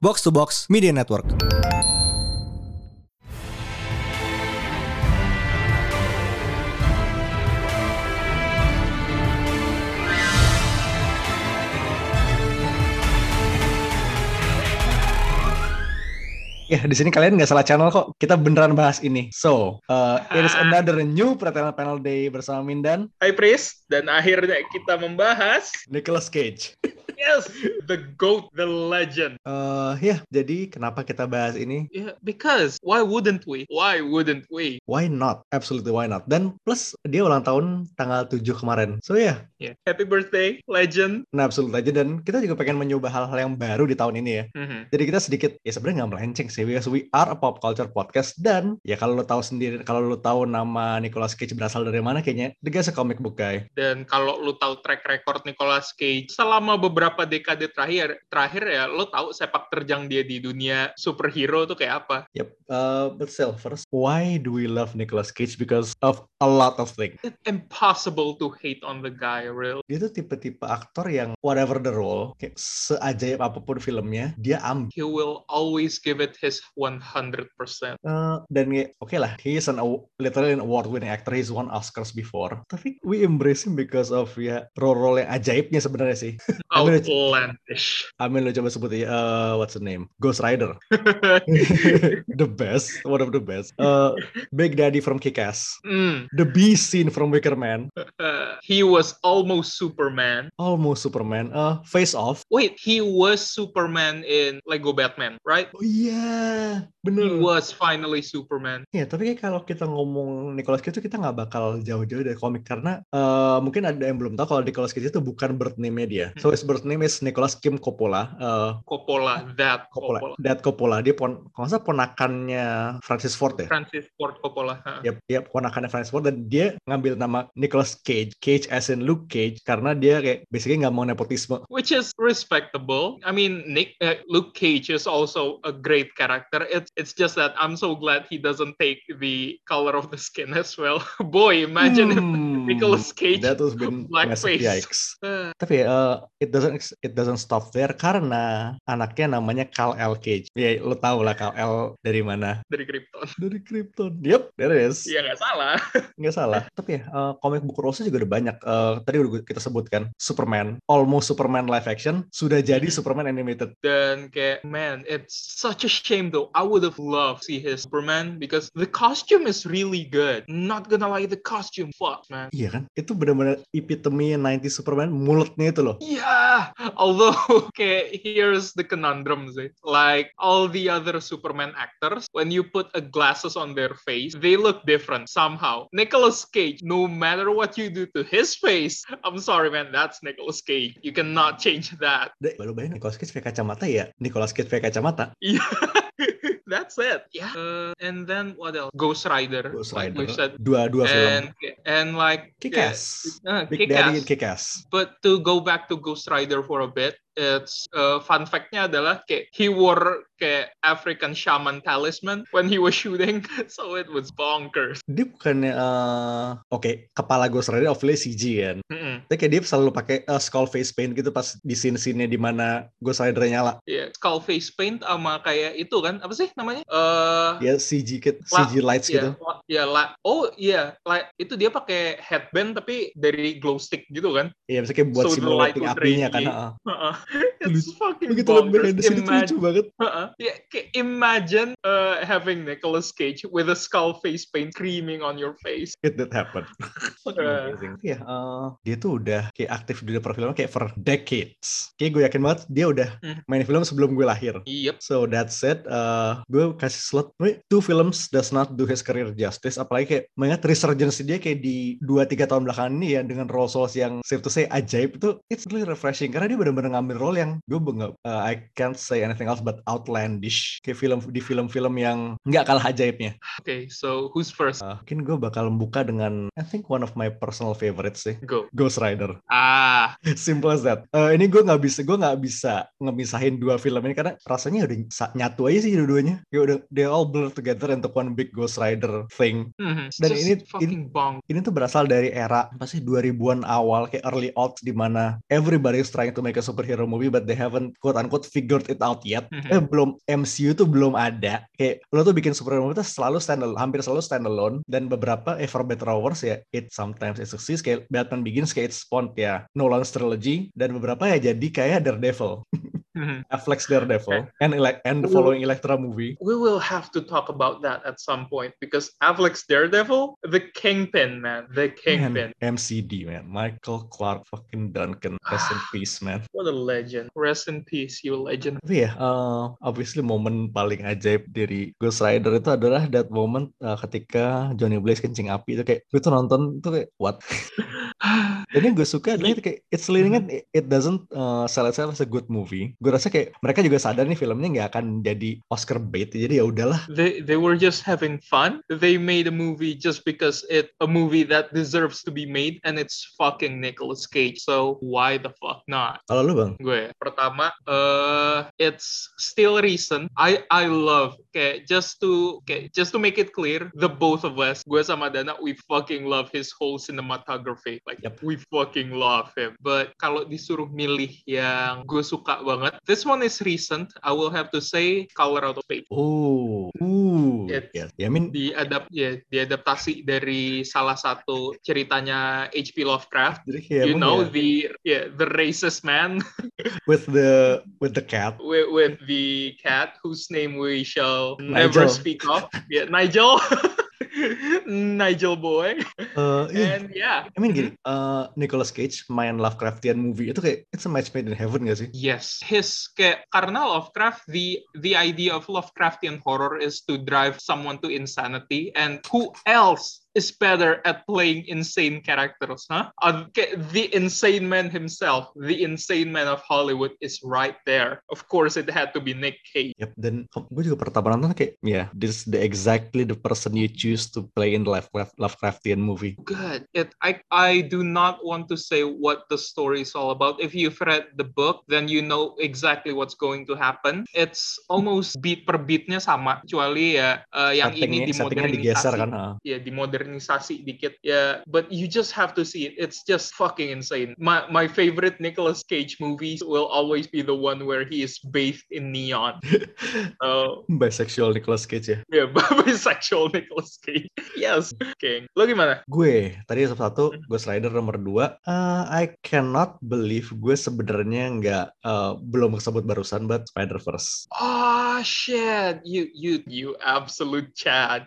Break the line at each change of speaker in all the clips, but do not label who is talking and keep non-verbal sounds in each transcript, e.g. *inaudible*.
Box to Box Media
Ya,
Network.
Ya, di sini kalian nggak salah channel kok. Kita beneran bahas ini. So, uh, it is another new Fraternal Panel Day bersama Mindan,
Hai Pris, dan akhirnya kita membahas
Nicholas Cage.
yes the goat the legend.
Eh, ya, jadi kenapa kita bahas ini?
Yeah, because why wouldn't we? Why wouldn't we?
Why not? Absolutely why not? Dan plus dia ulang tahun tanggal 7 kemarin. So ya,
Yeah. Happy birthday legend.
nah absolut aja dan kita juga pengen mencoba hal-hal yang baru di tahun ini ya.
Mhm.
Jadi kita sedikit ya sebenarnya nggak melenceng sih because we are a pop culture podcast dan ya kalau lo tahu sendiri kalau lo tahu nama Nicolas Cage berasal dari mana kayaknya the guy's a comic book guy.
Dan kalau lu tahu track record Nicolas Cage selama beberapa dekade terakhir, terakhir ya lu tahu sepak terjang dia di dunia superhero tuh kayak apa?
Yep. Uh, but still first, why do we love Nicolas Cage because of a lot of things.
It's impossible to hate on the guy, real.
Dia tuh tipe-tipe aktor yang whatever the role, kayak seajaib apapun filmnya, dia ambil.
He will always give it his 100%.
Uh, dan ya, oke lah, he is an aw- literally an award-winning actor. He's won Oscars before. Tapi we embrace him because of ya role-role yang ajaibnya sebenarnya sih. Amin.
Outlandish.
Amin lo coba sebut ya, uh, what's the name? Ghost Rider. the best, one of the best. Uh, Big Daddy from Kick-Ass.
Mm.
The B scene from Wicker Man.
Uh, he was almost Superman.
Almost Superman. Uh, Face Off.
Wait, he was Superman in Lego Batman, right?
Oh iya,
He
bener.
was finally Superman.
Ya, tapi kayak kalau kita ngomong Nicolas Cage itu kita nggak bakal jauh-jauh dari komik karena uh, mungkin ada yang belum tahu kalau Nicolas Cage itu bukan birth name-nya dia. So his birth name is Nicolas Kim Coppola. Uh,
Coppola, that
Coppola.
Coppola.
Dad Coppola. Dia pon, kalau nggak salah ponakannya Francis Ford ya.
Francis Ford Coppola. huh?
Yap, yap, ponakannya Francis Ford dan dia ngambil nama Nicolas Cage, Cage as in Luke Cage karena dia kayak basically nggak mau nepotisme.
Which is respectable. I mean, Nick uh, Luke Cage is also a great character. It's it's just that I'm so glad he doesn't take the color of the skin *laughs* as well. Boy, imagine if
Hmm,
Nicolas Cage
that was been massive
blackface.
yikes.
uh,
Tapi uh, it doesn't it doesn't stop there karena anaknya namanya Kal El Cage. Ya lo tau lah Kal El dari mana?
dari Krypton.
Dari Krypton. Yep, there it is.
Ya nggak salah.
Nggak salah. Tapi ya uh, komik buku Rose juga ada banyak. Uh, tadi udah kita sebutkan Superman, almost Superman live action sudah jadi
Mm-hmm.
Superman animated.
Then, kayak, man, it's such a shame though. I would have loved to see his Superman because the costume is really good. Not gonna lie, the costume, fuck, man.
Iya kan? Itu benar-benar epitome 90 Superman mulutnya itu loh.
Yeah, although *laughs* okay, here's the conundrum. sih. Like all the other Superman actors, when you put a glasses on their face, they look different somehow. Nicolas Cage, no matter what you do to his face, *laughs* I'm sorry, man, that's Nicolas Cage. You cannot change that. *laughs*
Dek, baru bayangin Nicolas Cage pakai kacamata ya. Nicolas Cage pakai kacamata.
Yeah. That's it. Yeah. Uh, and then what else? Ghost Rider.
Ghost
like
Rider.
we've said.
Dua dua film.
And and like yeah,
Kick-Ass.
uh,
Big
Kick-Ass.
Daddy and Kick-Ass.
But to go back to Ghost Rider for a bit, it's uh, fun fact-nya adalah kayak he wore kayak African shaman talisman when he was *laughs* shooting, so it was bonkers.
Dia bukannya eh, oke, kepala Ghost Rider of CG kan.
Mm-mm.
Tapi kayak dia selalu pakai eh, skull face paint gitu pas di scene-scene di mana Ghost Rider nyala.
Yeah. Skull face paint sama kayak itu kan apa sih namanya? Eh
Ya CG kit,
Lah,
CG lights gitu.
yeah, la- yeah, la- oh iya, la- itu dia pakai headband tapi dari glow stick gitu kan?
Iya, bisa kayak buat
So the
simulating
light would
apinya
radiate.
kan. heeh.
Heeh. *laughs* It's fucking
Begitu liat
bonkers.
behind the scene itu
Imagine-
lucu banget.
Uh-uh. Yeah, ca- imagine uh, having Nicolas Cage with a skull face paint creaming on your face.
It did happen. Fucking
Eh.
*laughs* amazing. Iya, eh, dia tuh udah kayak aktif di dunia perfilman kayak for decades. Kayak gue yakin banget dia udah
Hmm.
main film sebelum gue lahir.
Yep.
So that's it. Eh, gue kasih slot. Tapi Two films does not do his career justice. Apalagi kayak mengingat resurgence dia kayak di 2-3 tahun belakangan ini ya dengan roles roles yang safe to say ajaib itu it's really refreshing karena dia benar-benar ngambil role yang gue nggak eh, I can't say anything else but outlandish. Kayak film di film-film yang nggak kalah ajaibnya.
Okay, so who's first?
Uh, mungkin gue bakal membuka dengan I think one of my personal favorites sih
Go.
Ghost Rider
Ah,
*laughs* simple as that Uh, ini gue nggak bisa gue nggak bisa ngemisahin dua film ini karena rasanya udah sa- nyatu aja sih dua-duanya ya udah they all blur together into one big Ghost Rider thing
mhm. It's
Dan
just
ini-
fucking bong.
ini tuh berasal dari era pasti 2000-an awal kayak early aughts di mana everybody is trying to make a superhero Marvel movie but they haven't quote unquote figured it out yet.
Mhm.
Eh, belum MCU tuh belum ada. Kayak lo tuh bikin superhero movie tuh selalu stand hampir selalu standalone dan beberapa eh, for better or worse ya it sometimes it succeeds kayak Batman Begins kayak it's spawned ya Nolan's trilogy dan beberapa ya jadi kayak Daredevil,
Mhm.
Affleck's Daredevil and elec and the
Well-
following Elektra movie.
We will have to talk about that at some point because Affleck's Daredevil, the kingpin, man, the
Man,
kingpin.
MCD man, Michael Clark fucking Duncan, rest in peace man.
What a legend. Rest in peace, you legend. *sighs*
Tapi ya, eh, obviously momen paling ajaib dari Ghost Rider itu adalah that moment eh, ketika Johnny Blaze kencing api itu kayak gue tuh nonton itu kayak what? Dan yang gue suka adalah itu kayak it's leaning it,
Hmm.
it doesn't eh, sell itself as a good movie. Gue rasa kayak mereka juga sadar nih filmnya nggak akan jadi Oscar bait. Jadi ya udahlah.
they they were just having fun. They made a movie just because it a movie that deserves to be made and it's fucking Nicolas Cage. So why the fuck not?
Kalau lu bang,
Gue ya. pertama uh it's still recent. I I love okay just to okay just to make it clear the both of us gue sama Dana we fucking love his whole cinematography like
Yep.
we fucking love him. But kalau disuruh milih yang gue suka banget this one is recent. I will have to say Color Out of Space.
oh, uh,
It's-
yes. Ya, I mean,
diadap ya diadaptasi dari salah satu ceritanya H.P. Lovecraft.
jadi kayak
you
emang
know
ya,
the yeah the racist man
with the with the cat.
with, with the cat whose name we shall never
Nigel.
speak of. Yeah, Nigel. *laughs* Nigel boy.
Eh, iya,
And Mm-hmm. yeah.
I mean gini, eh, Nicolas Cage main Lovecraftian movie itu kayak it's a match made in heaven gak sih?
Yes, his kayak, karena Lovecraft the the idea of Lovecraftian horror is to drive someone to insanity and who else is better at playing insane characters, huh? Uh, kayak, the insane man himself, the insane man of Hollywood is right there. Of course, it had to be Nick Cage.
Yep, dan gue juga pertama nonton kayak, ya, yeah, this is the exactly the person you choose to play in the Lovecraft, Lovecraftian movie.
Good. It I I do not want to say what the story is all about. If you've read the book, then you know exactly what's going to happen. It's almost beat per beatnya sama, kecuali ya eh, yang ini
Settingnya, settingnya digeser
dimodernisasi.
kan, ah.
ya dimodernisasi dikit ya but you just have to see it it's just fucking insane my my favorite Nicolas Cage movies will always be the one where he is bathed in neon
uh.
so
bisexual Nicolas Cage ya.
yeah *laughs* bisexual Nicolas Cage yes king lo gimana
Gue tadi satu-satu
Hmm.
Ghost Rider nomor 2 I cannot believe gue sebenarnya nggak eh, belum kesebut barusan but Spider Verse.
Ah shit you you you absolute *laughs* Chad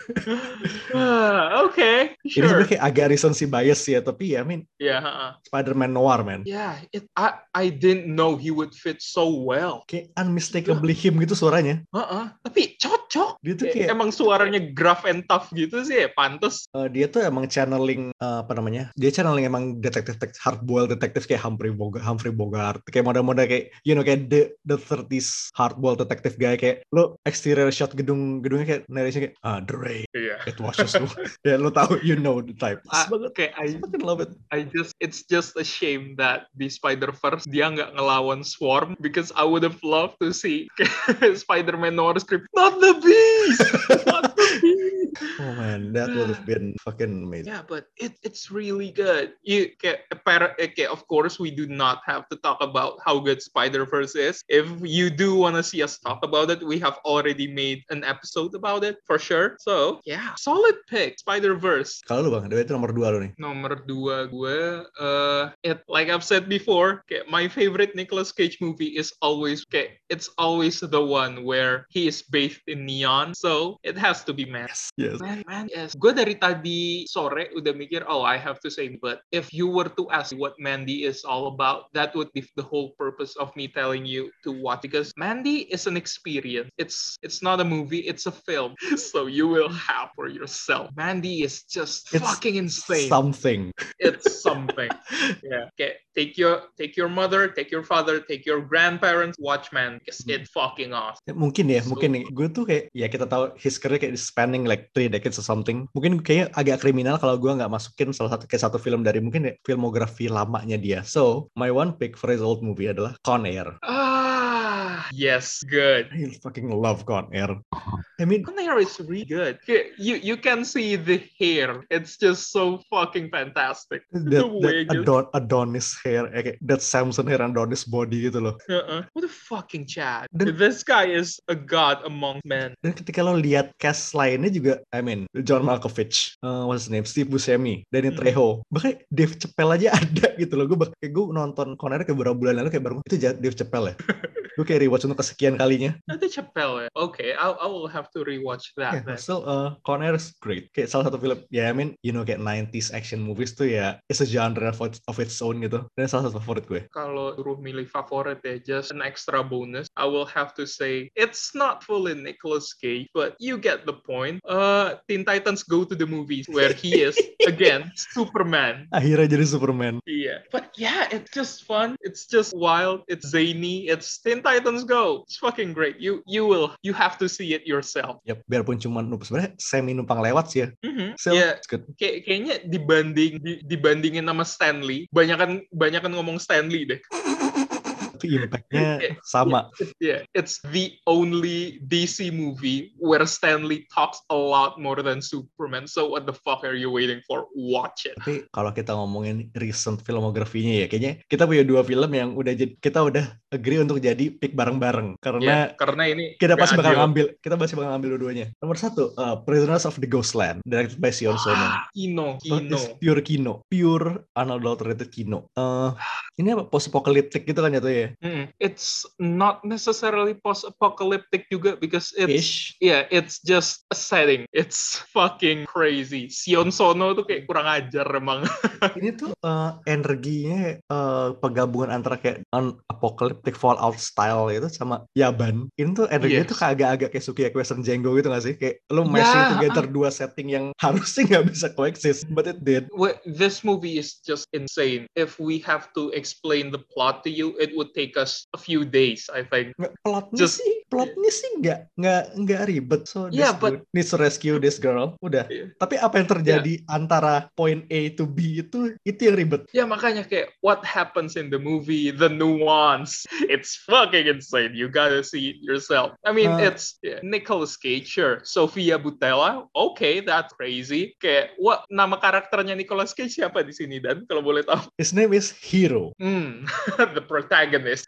Ah, okay
Ini
sure
sebenarnya kayak agak recency bias sih ya tapi ya, I mean
yeah uh-uh.
Spider-Man noir man.
yeah it I I didn't know he would fit so well
Kayak unmistakably him gitu suaranya.
uh-uh. tapi cocok
dia tuh
Kayak
kayak
Iya, emang suaranya gruff and tough gitu sih ya, pantes.
eh, dia tuh emang channeling eh, apa namanya dia channeling emang detektif detektif hardboiled detektif kayak Humphrey Bogart Humphrey Bogart kayak model-model kayak you know kayak the the 30s hardboiled detektif guy kayak lo exterior shot gedung gedungnya kayak narration kayak ah the rain
Iya.
it washes *laughs* lo ya lo tahu you know the type
Ah,
Pas banget
Kayak I,
I fucking love it
I just it's just a shame that di Spider Verse dia nggak ngelawan Swarm because I would have loved to see *laughs* Spider-Man Noir script not the *laughs* beast not the beast
oh man that would have been fucking amazing
yeah but it it's really good you kayak, par- eh, kayak, of course we do not have to talk about how good Spider Verse is if you do want to see us talk about it we have already made an episode about it for sure so yeah solid pick Spider Verse
kalau lu bang Dewa itu nomor dua lo nih
Nomor dua gue, uh, it, like I've said before, kayak my favorite Nicolas Cage movie is always, kayak, it's always the one where he is bathed in neon, so it has to be man.
yes
Man, man, yes. Gue dari tadi sore udah mikir, oh I have to say, but if you were to ask what Mandy is all about, that would be the whole purpose of me telling you to watch because Mandy is an experience. It's it's not a movie, it's a film. *laughs* So you will have for yourself. Mandy is just
It's
fucking insane
something
*laughs* it's something. yeah. Okay. Take your take your mother, take your father, take your grandparents, watch man. It's it fucking awesome.
Ya, mungkin ya,
So-
mungkin nih. Gue tuh kayak, ya kita tahu his career kayak spanning like three decades or something. Mungkin kayaknya agak kriminal kalau gue nggak masukin salah satu kayak satu film dari mungkin ya, filmografi lamanya dia. So, my one pick for his old movie adalah Con Air.
Ah Yes, good.
I fucking love Con Air. I mean,
Con Air is really good. Okay, You you can see the hair. It's just so fucking fantastic.
that, that
wig is-
Adon- Adonis hair, eh, kayak that Samson hair Adonis body gitu loh.
Uh-uh. What a fucking Chad.
The-
This guy is a god among men.
Dan ketika lo lihat cast lainnya juga, I mean, John Malkovich, uh, what's his name, Steve Buscemi, Danny
Hmm.
Trejo, bahkan Dave Chappelle aja *laughs* ada gitu loh. Gue bak- kayak gue nonton Con Air kayak beberapa bulan lalu kayak baru itu Ja- Dave Chappelle ya. gue kayak rewatch untuk kesekian kalinya.
Ada Chappelle. eh? Okay, I'll, I will have to rewatch
Yeah,
that. then.
so uh, Con Air is great. Kayak salah satu film, ya I mean, you know kayak 90s action movies tuh ya, it's a genre of, its- of its own gitu. Dan salah satu favorit gue.
kalau suruh milih favorit ya, just an extra bonus, I will have to say it's not fully Nicolas Cage, but you get the point. Uh, Teen Titans Go to the Movies, where he
*laughs*
is again Superman.
Akhirnya jadi Superman.
Yeah, but yeah, it's just fun. It's just wild. It's zany. It's Teen Titans Go. It's fucking great. You you will you have to see it yourself.
Yep, Ya, biarpun cuma numpang sebenarnya semi numpang lewat sih ya.
Mhm.
So,
Yeah,
it's good.
kayak kayaknya dibanding di- dibandingin sama Stanley, banyakan banyakan ngomong Stanley deh. *laughs*
Tapi
Iya.
impact-nya sama.
Yeah, it's the only DC movie where Stanley talks a lot more than Superman. So what the fuck are you waiting for? Watch it.
Tapi kalau kita ngomongin recent filmografinya ya, kayaknya kita punya dua film yang udah jadi, kita udah agree untuk jadi pick bareng-bareng. Karena
Ya, karena ini
kita
nggak
pasti bakal
adil.
ngambil, kita pasti bakal ngambil dua-duanya. Nomor satu, uh, Prisoners of the Ghostland, directed by Sion Sono. Oh,
Ah, Kino,
It's
Kino.
pure kino, pure unadulterated kino. Eh, ini apa post apokaliptik gitu kan jatuhnya ya?
Mm, It's not necessarily post-apocalyptic juga because it's
Ish.
yeah, it's just a setting. It's fucking crazy. Sion Sono tuh kayak kurang ajar emang. *laughs*
Ini tuh eh, energinya eh, penggabungan antara kayak un- apocalyptic fallout style itu sama Yaban. Ini tuh energinya
Yes.
tuh kayak agak-agak kayak Sukiyaki Western Django gitu gak sih? Kayak lo mashing
Iya. Ya,
together dua setting yang *laughs* harusnya nggak bisa coexist, but it did.
Wh- this movie is just insane. If we have to explain the plot to you, it would take us a few days, I think.
Nggak- Plotnya
Just-
sih, plotnya sih nggak nggak nggak ribet. So this
Yeah, but- Iya.
dude needs to rescue this girl. Udah.
Yeah.
Tapi apa yang terjadi
Iya.
antara point A to B itu itu yang ribet.
Yeah, makanya kayak what happens in the movie, the nuance. It's fucking insane. You gotta see it yourself. I mean,
Uh,
it's yeah, Nicolas Cage, sure. Sofia Butella, okay, that's crazy. Kayak what nama karakternya Nicolas Cage siapa di sini dan kalau boleh tahu?
His name is Hero.
Hmm, *laughs* the protagonist.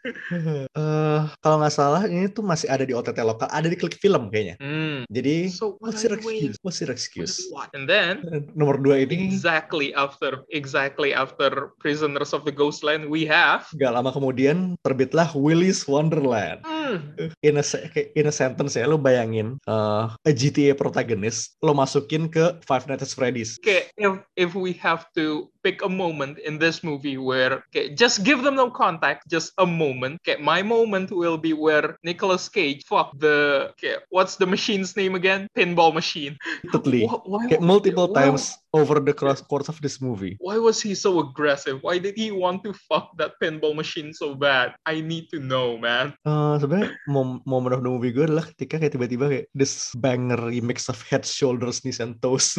eh kalau nggak salah ini tuh masih ada di OTT lokal, ada di klik film kayaknya.
Hmm.
Jadi
So what
what's
are
your
you waiting
excuse? What's your
for?
excuse?
What? And then
*laughs* Nomor dua ini
exactly after exactly after prisoners of the ghostland we have
gak lama kemudian terbitlah Willy's Wonderland.
Hmm,
In a, se- kayak in a sentence ya, lo bayangin eh a GTA protagonist, lo masukin ke Five Nights at Freddy's.
okay, if if we have to pick a moment in this movie where okay, just give them no contact just a moment okay, my moment will be where Nicolas Cage fuck the okay, what's the machine's name again pinball machine
Totally.
Wh- why,
Kayak multiple
why-
times over the cross course of this movie.
why was he so aggressive? Why did he want to fuck that pinball machine so bad? I need to know, man.
Eh sebenarnya mom- momen of the movie gue adalah ketika kayak tiba-tiba kayak this banger remix of Head, Shoulders, Knees, and Toes. *laughs*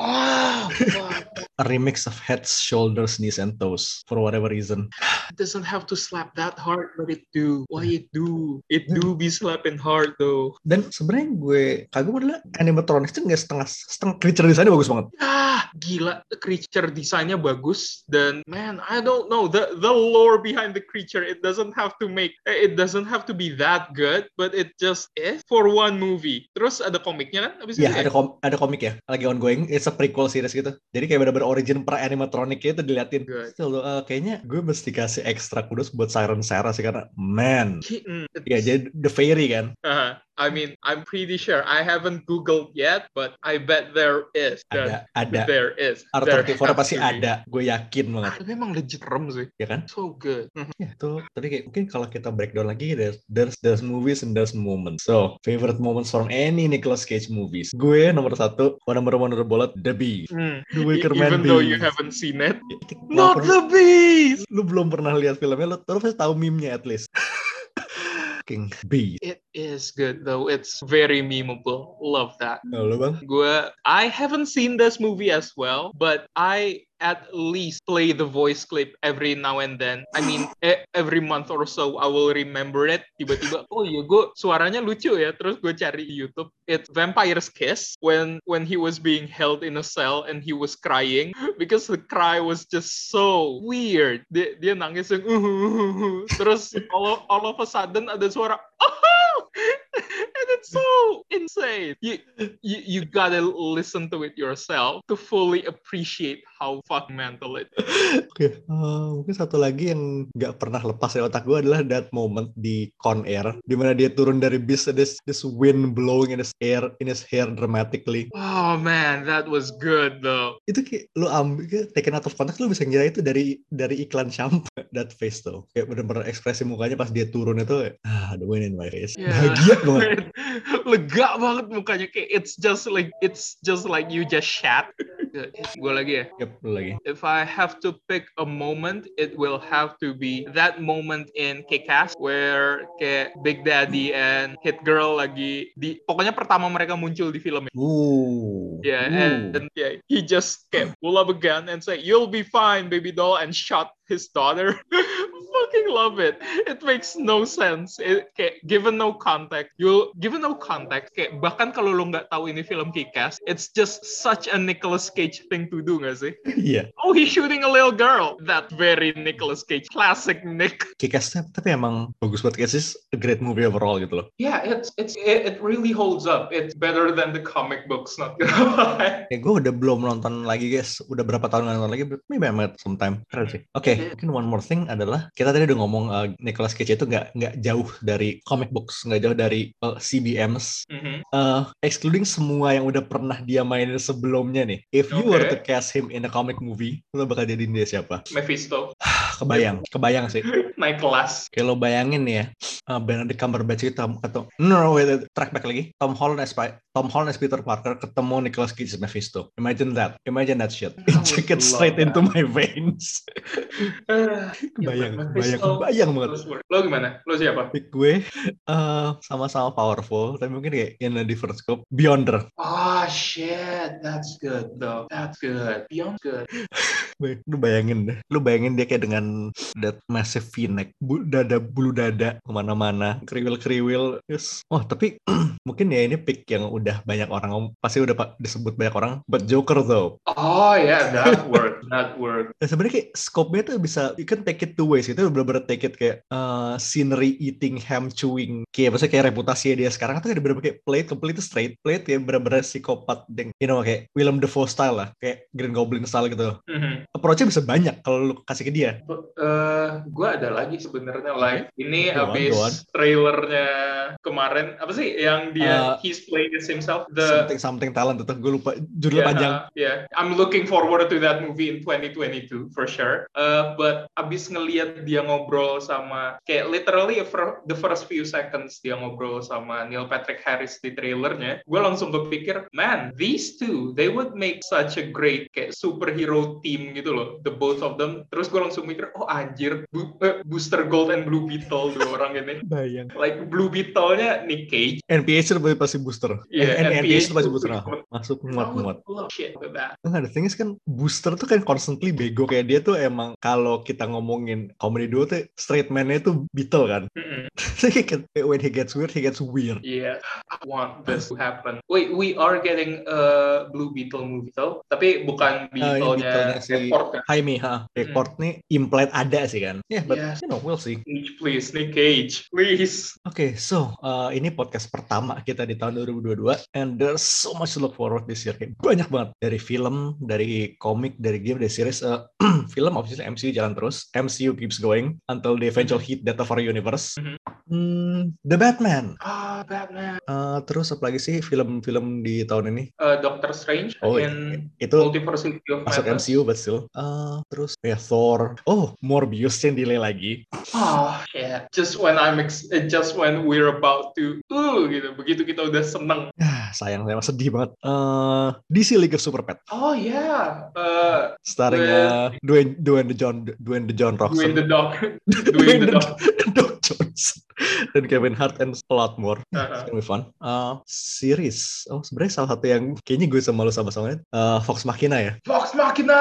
Oh, fuck.
a remix of Heads, Shoulders, Knees, and Toes for whatever reason.
It doesn't have to slap that hard, but it do. Why it do? It do be slapping hard though.
Dan sebenarnya gue kagum adalah animatronics itu nggak setengah setengah creature desainnya bagus banget.
Ah, gila. The creature desainnya bagus dan man, I don't know the the lore behind the creature. It doesn't have to make eh, it doesn't have to be that good, but it just is for one movie. Terus ada komiknya kan? Abis
Ya
itu
ada kom- ada komik ya lagi ongoing. It's a prequel series gitu. Jadi kayak bener-bener origin per animatronic itu diliatin.
Good.
Still, uh, kayaknya gue mesti kasih ekstra kudos buat Siren Sarah sih karena man.
Kitten.
Ya jadi The Fairy kan.
hmm, Uh-huh. I mean, I'm pretty sure. I haven't googled yet, but I bet there is.
Ada ada.
There is. There
R34
has
pasti
to be.
ada. Gue yakin banget.
Ah, Tapi emang legit rem sih.
Ya kan?
So good.
Ya, itu tadi kayak mungkin kalau kita breakdown lagi there's, there's there's movies and there's moments. So, favorite moments from any Nicolas Cage movies. Gue nomor satu, oh, nomor one udah bola The Bee.
Mm.
The
E-
Wicker Man
Even though
Bee.
you haven't seen it.
Walaupun
Not the bees.
lu belum pernah lihat filmnya, lu terus tahu meme-nya at least. *laughs* King Bee.
It is good though. It's very memeable. Love that.
Nah, lu bang?
Gua, I haven't seen this movie as well, but I at least play the voice clip every now and then. I mean, e- every month or so I will remember it. Tiba-tiba, oh iya gue suaranya lucu ya. Terus gue cari di YouTube. It's Vampire's Kiss when when he was being held in a cell and he was crying because the cry was just so weird. Dia, dia nangis yang "Uh, "Uhuhuhuhu." terus all, all of a sudden ada suara "Oh, *laughs* and it's so insane. You, you you gotta listen to it yourself to fully appreciate how fucking mental it. is.
Oke, eh, mungkin satu lagi yang nggak pernah lepas dari otak gue adalah that moment di Con Air, di mana dia turun dari bis, ada this, this wind blowing in his air, in his hair dramatically.
Oh man, that was good though. *laughs*
Itu kayak lu ambil, kayak taken out of context, lu bisa ngira itu dari dari iklan shampoo. *laughs* That face tuh, kayak bener-bener ekspresi mukanya pas dia turun itu, kayak, ah, the wind in my face. *laughs*
Yeah.
Bahagia banget.
Lega banget mukanya kayak it's just like it's just like you just shat. Gue lagi ya.
Yep, lu lagi.
If I have to pick a moment, it will have to be that moment in Kick-Ass where kayak Big Daddy and Hit Girl lagi di pokoknya pertama mereka muncul di film
Ooh.
Yeah,
Ooh.
and, and yeah, he just kept pull up a gun and say, "You'll be fine, baby doll," and shot his daughter. *laughs* Fucking love it. It makes no sense. It, kayak, given no context, you given no context, kayak bahkan kalau lo nggak tahu ini film Kikas, it's just such a Nicolas Cage thing to do nggak sih?
*laughs* Iya.
Oh, he's shooting a little girl. That very Nicolas Cage, classic Nick.
Kick-Ass tapi- tapi emang bagus banget. Kick-Ass is a great movie overall gitu loh.
Yeah, it's it's it, it really holds up. It's better than the comic books, not gonna *laughs* lie.
Ya gue udah belum nonton lagi guys. Udah berapa tahun gak nonton lagi. but Maybe I might sometime. Keren sih. Oke, mungkin one more thing adalah kita tadi udah ngomong uh, Nicolas Cage itu nggak nggak jauh dari comic books, nggak jauh dari uh, CBMs.
Mhm.
Uh, excluding semua yang udah pernah dia mainin sebelumnya nih. If you were to cast him in a comic movie, lo bakal jadiin dia siapa?
Mephisto,
Ah, Kebayang, kebayang sih.
naik *sighs* kelas.
Kayak lo bayangin nih ya, uh, Benedict Cumberbatch itu Tom- ketemu, no, no, wait, wait, track back lagi, Tom Holland as, Pi- Tom Holland as Peter Parker ketemu Nicolas Cage as Mephisto. Imagine that, imagine that shit. *laughs* It
I would
just gets
love
straight
that.
into my veins. Bayang,
*laughs* Ya,
bayang,
Mephisto.
bayang banget.
Terus Lo gimana? Lo siapa?
Pick gue uh, sama-sama powerful, tapi mungkin kayak in a different scope. Beyonder,
Ah shit, that's good though. That's good. Beyond good.
Bay- lu bayangin deh, lu bayangin dia kayak dengan that massive v-neck, bu- dada bulu dada kemana-mana, kriwil-kriwil, yes. Wah tapi *clears throat* mungkin ya ini pick yang udah banyak orang ngom- pasti udah pa- disebut banyak orang, but Joker though.
Oh yeah, that worked. That worked.
Nah, Sebenarnya kayak scope-nya tuh bisa, you can take it two ways, itu bener-bener take it kayak uh, scenery eating ham chewing, kayak maksudnya kayak reputasinya dia sekarang tuh kayak bener-bener kayak play it completely straight, play it kayak bener-bener psikopat, deng- you know kayak Willem Dafoe style lah, kayak Green Goblin style gitu.
Mhm.
Approach-nya bisa banyak kalau lu kasih ke dia.
Eh, gue ada lagi sebenarnya like ini
Go on,
habis
go on.
trailernya kemarin apa sih yang dia
Eh,
he's playing as himself the
something something talent itu gue lupa judul
Yeah,
panjang
yeah. I'm looking forward to that movie in 2022 for sure. Uh, but abis ngeliat dia ngobrol sama kayak literally for the first few seconds dia ngobrol sama Neil Patrick Harris di trailernya, gue langsung kepikir, man, these two they would make such a great kayak superhero team gitu loh, the both of them. Terus gue langsung mikir, oh anjir, Bu- eh, Booster Gold and Blue Beetle dua orang ini.
bayang
Like Blue Beetle-nya Nick Cage,
NPH itu pasti booster Eh,
Iya,
N- N- NPH itu
NPH
pasti booster
booster.
Nah, masuk muat
I
muat
would love shit with that.
Enggak, the thing is kan booster tuh kan constantly bego kayak dia tuh emang kalau kita ngomongin comedy duo tuh straight man-nya tuh Beatle kan. *laughs*
Mm-mm.
Jadi kayak when he gets weird, he gets weird.
Yeah, I want this to happen. Wait, we are getting a Blue Beetle movie though, tapi bukan
Nah, yang
Beetle-nya
Ah, Beetle-nya si-
Edward kan?
Hai Mi, ha. Kayak
Hmm.
Courtney implied ada sih kan. Yeah, but
Yes.
you know, we'll see.
Cage, please, Nick Cage, please.
Oke, so uh, ini podcast pertama kita di tahun 2022 and there's so much to look forward this year. Kayak banyak banget dari film, dari komik, dari game, dari series. Uh, *clears throat* film obviously MCU jalan terus. MCU keeps going until the eventual hit data for our universe.
Mhm.
Hmm, the Batman.
Ah, Batman.
Uh, terus apa lagi sih film-film di tahun ini?
Uh, Doctor Strange
Oh,
in
Itu
Multiversity of
masuk
Madness.
MCU but still. Uh, terus ya Thor. Oh, Morbius yang delay lagi. *sighs*
Ah, yeah. Just when I'm ex- eh, just when we're about to, uh, gitu. Begitu kita udah seneng.
Ah, sayang, saya sedih banget. Uh, DC League of Super Pets.
Oh yeah. Uh,
starring uh, Dwayne Dwayne the John Dwayne the John
doing
Roxon,
the dog,
*laughs*
doing the dog.
Doc Johnson, dan Kevin Hart and a lot more. It's
Uh-uh.
gonna be fun. Uh, series, oh sebenarnya salah satu yang kayaknya gue sama lo sama-sama eh, Fox Machina Uh, ya. *laughs*
Fox Machina.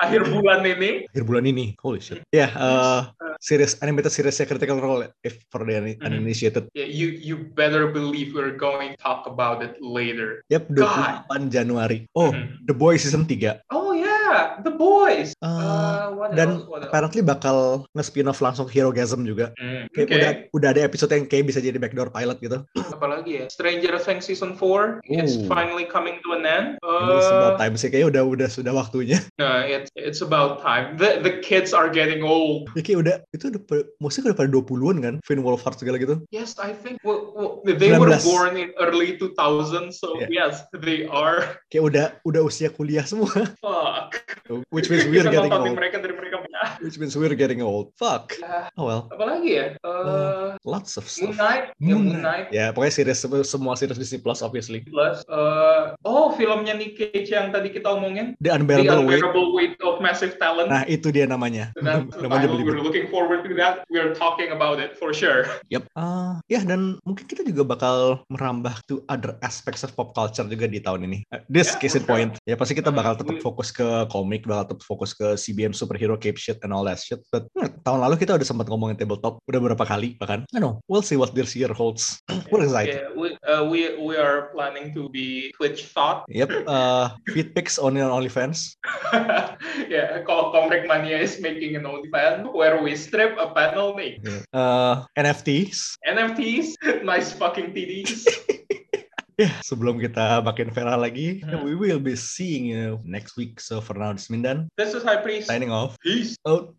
akhir bulan ini.
akhir bulan ini. Holy shit. Ya, eh series animated seriesnya Critical Role if for the un-
Mhm.
uninitiated.
Yeah, you you better believe we're going to talk about it later.
Yap, 28 Januari. Oh,
Mhm.
The Boys season 3.
Oh yeah, the boys.
Eh,
Uh, what
dan
else? What else?
apparently bakal nge-spin off langsung Herogasm juga.
Hmm,
Kayak
okay.
udah, udah ada episode yang kayak bisa jadi backdoor pilot gitu.
Apalagi ya? Stranger Things season 4 it's
Ooh.
finally coming to an end.
Ini it's about
Uh,
time sih kayaknya udah udah sudah waktunya. *laughs*
no, it's it's about time. The the kids are getting old.
Ya kayak udah itu udah per- musik udah pada 20-an kan, Finn Wolfhard segala gitu.
Yes, I think well, well, they were
19.
born in early 2000, so
Yeah.
yes, they are. *laughs*
Kayak udah udah usia kuliah semua. *laughs*
Fuck.
Which means we're
Kita
getting
manfaatin
old.
mereka dari
*laughs*
mereka punya.
Which means we're getting old. Fuck.
Ah,
Oh well,
Apalagi ya? Uh,
lots of
Moon
stuff.
Knight, ya, Moon Knight.
Ya, pokoknya series semua- semua series Disney Plus obviously.
Plus, uh, oh filmnya Nick Cage yang tadi kita omongin,
The
The
Unbearable Weight.
Unbearable Weight of Massive Talent.
Nah, itu dia namanya.
That's the
*laughs* namanya
title.
belibet.
We're looking forward to that. We're talking about it for
*laughs*
sure.
Yep. Ah, ya dan mungkin kita juga bakal merambah to other aspects of pop culture juga di tahun ini. Eh, This
Ya,
case in
betul.
point. Ya pasti kita bakal tetap
Hmm.
fokus ke komik, bakal tetap fokus ke CBM superhero cape shit and all that shit. But hmm, tahun lalu kita udah sempat ngomongin tabletop udah beberapa kali bahkan. I know. We'll see what this year holds. We're excited.
Yeah, we, uh, we we are planning to be Twitch thought. *laughs*
Yep. Uh, feed pics on your OnlyFans.
yeah, Co- Comrade Mania is making an OnlyFans where we strip a panel name.
Uh, NFTs.
NFTs, *laughs* nice fucking
*laughs*
TDs.
Ya, sebelum kita makin viral lagi,
Hmm.
we will be seeing you next week. So for now, this is Mindan
this is High Priest.
signing off.
Peace.
Out.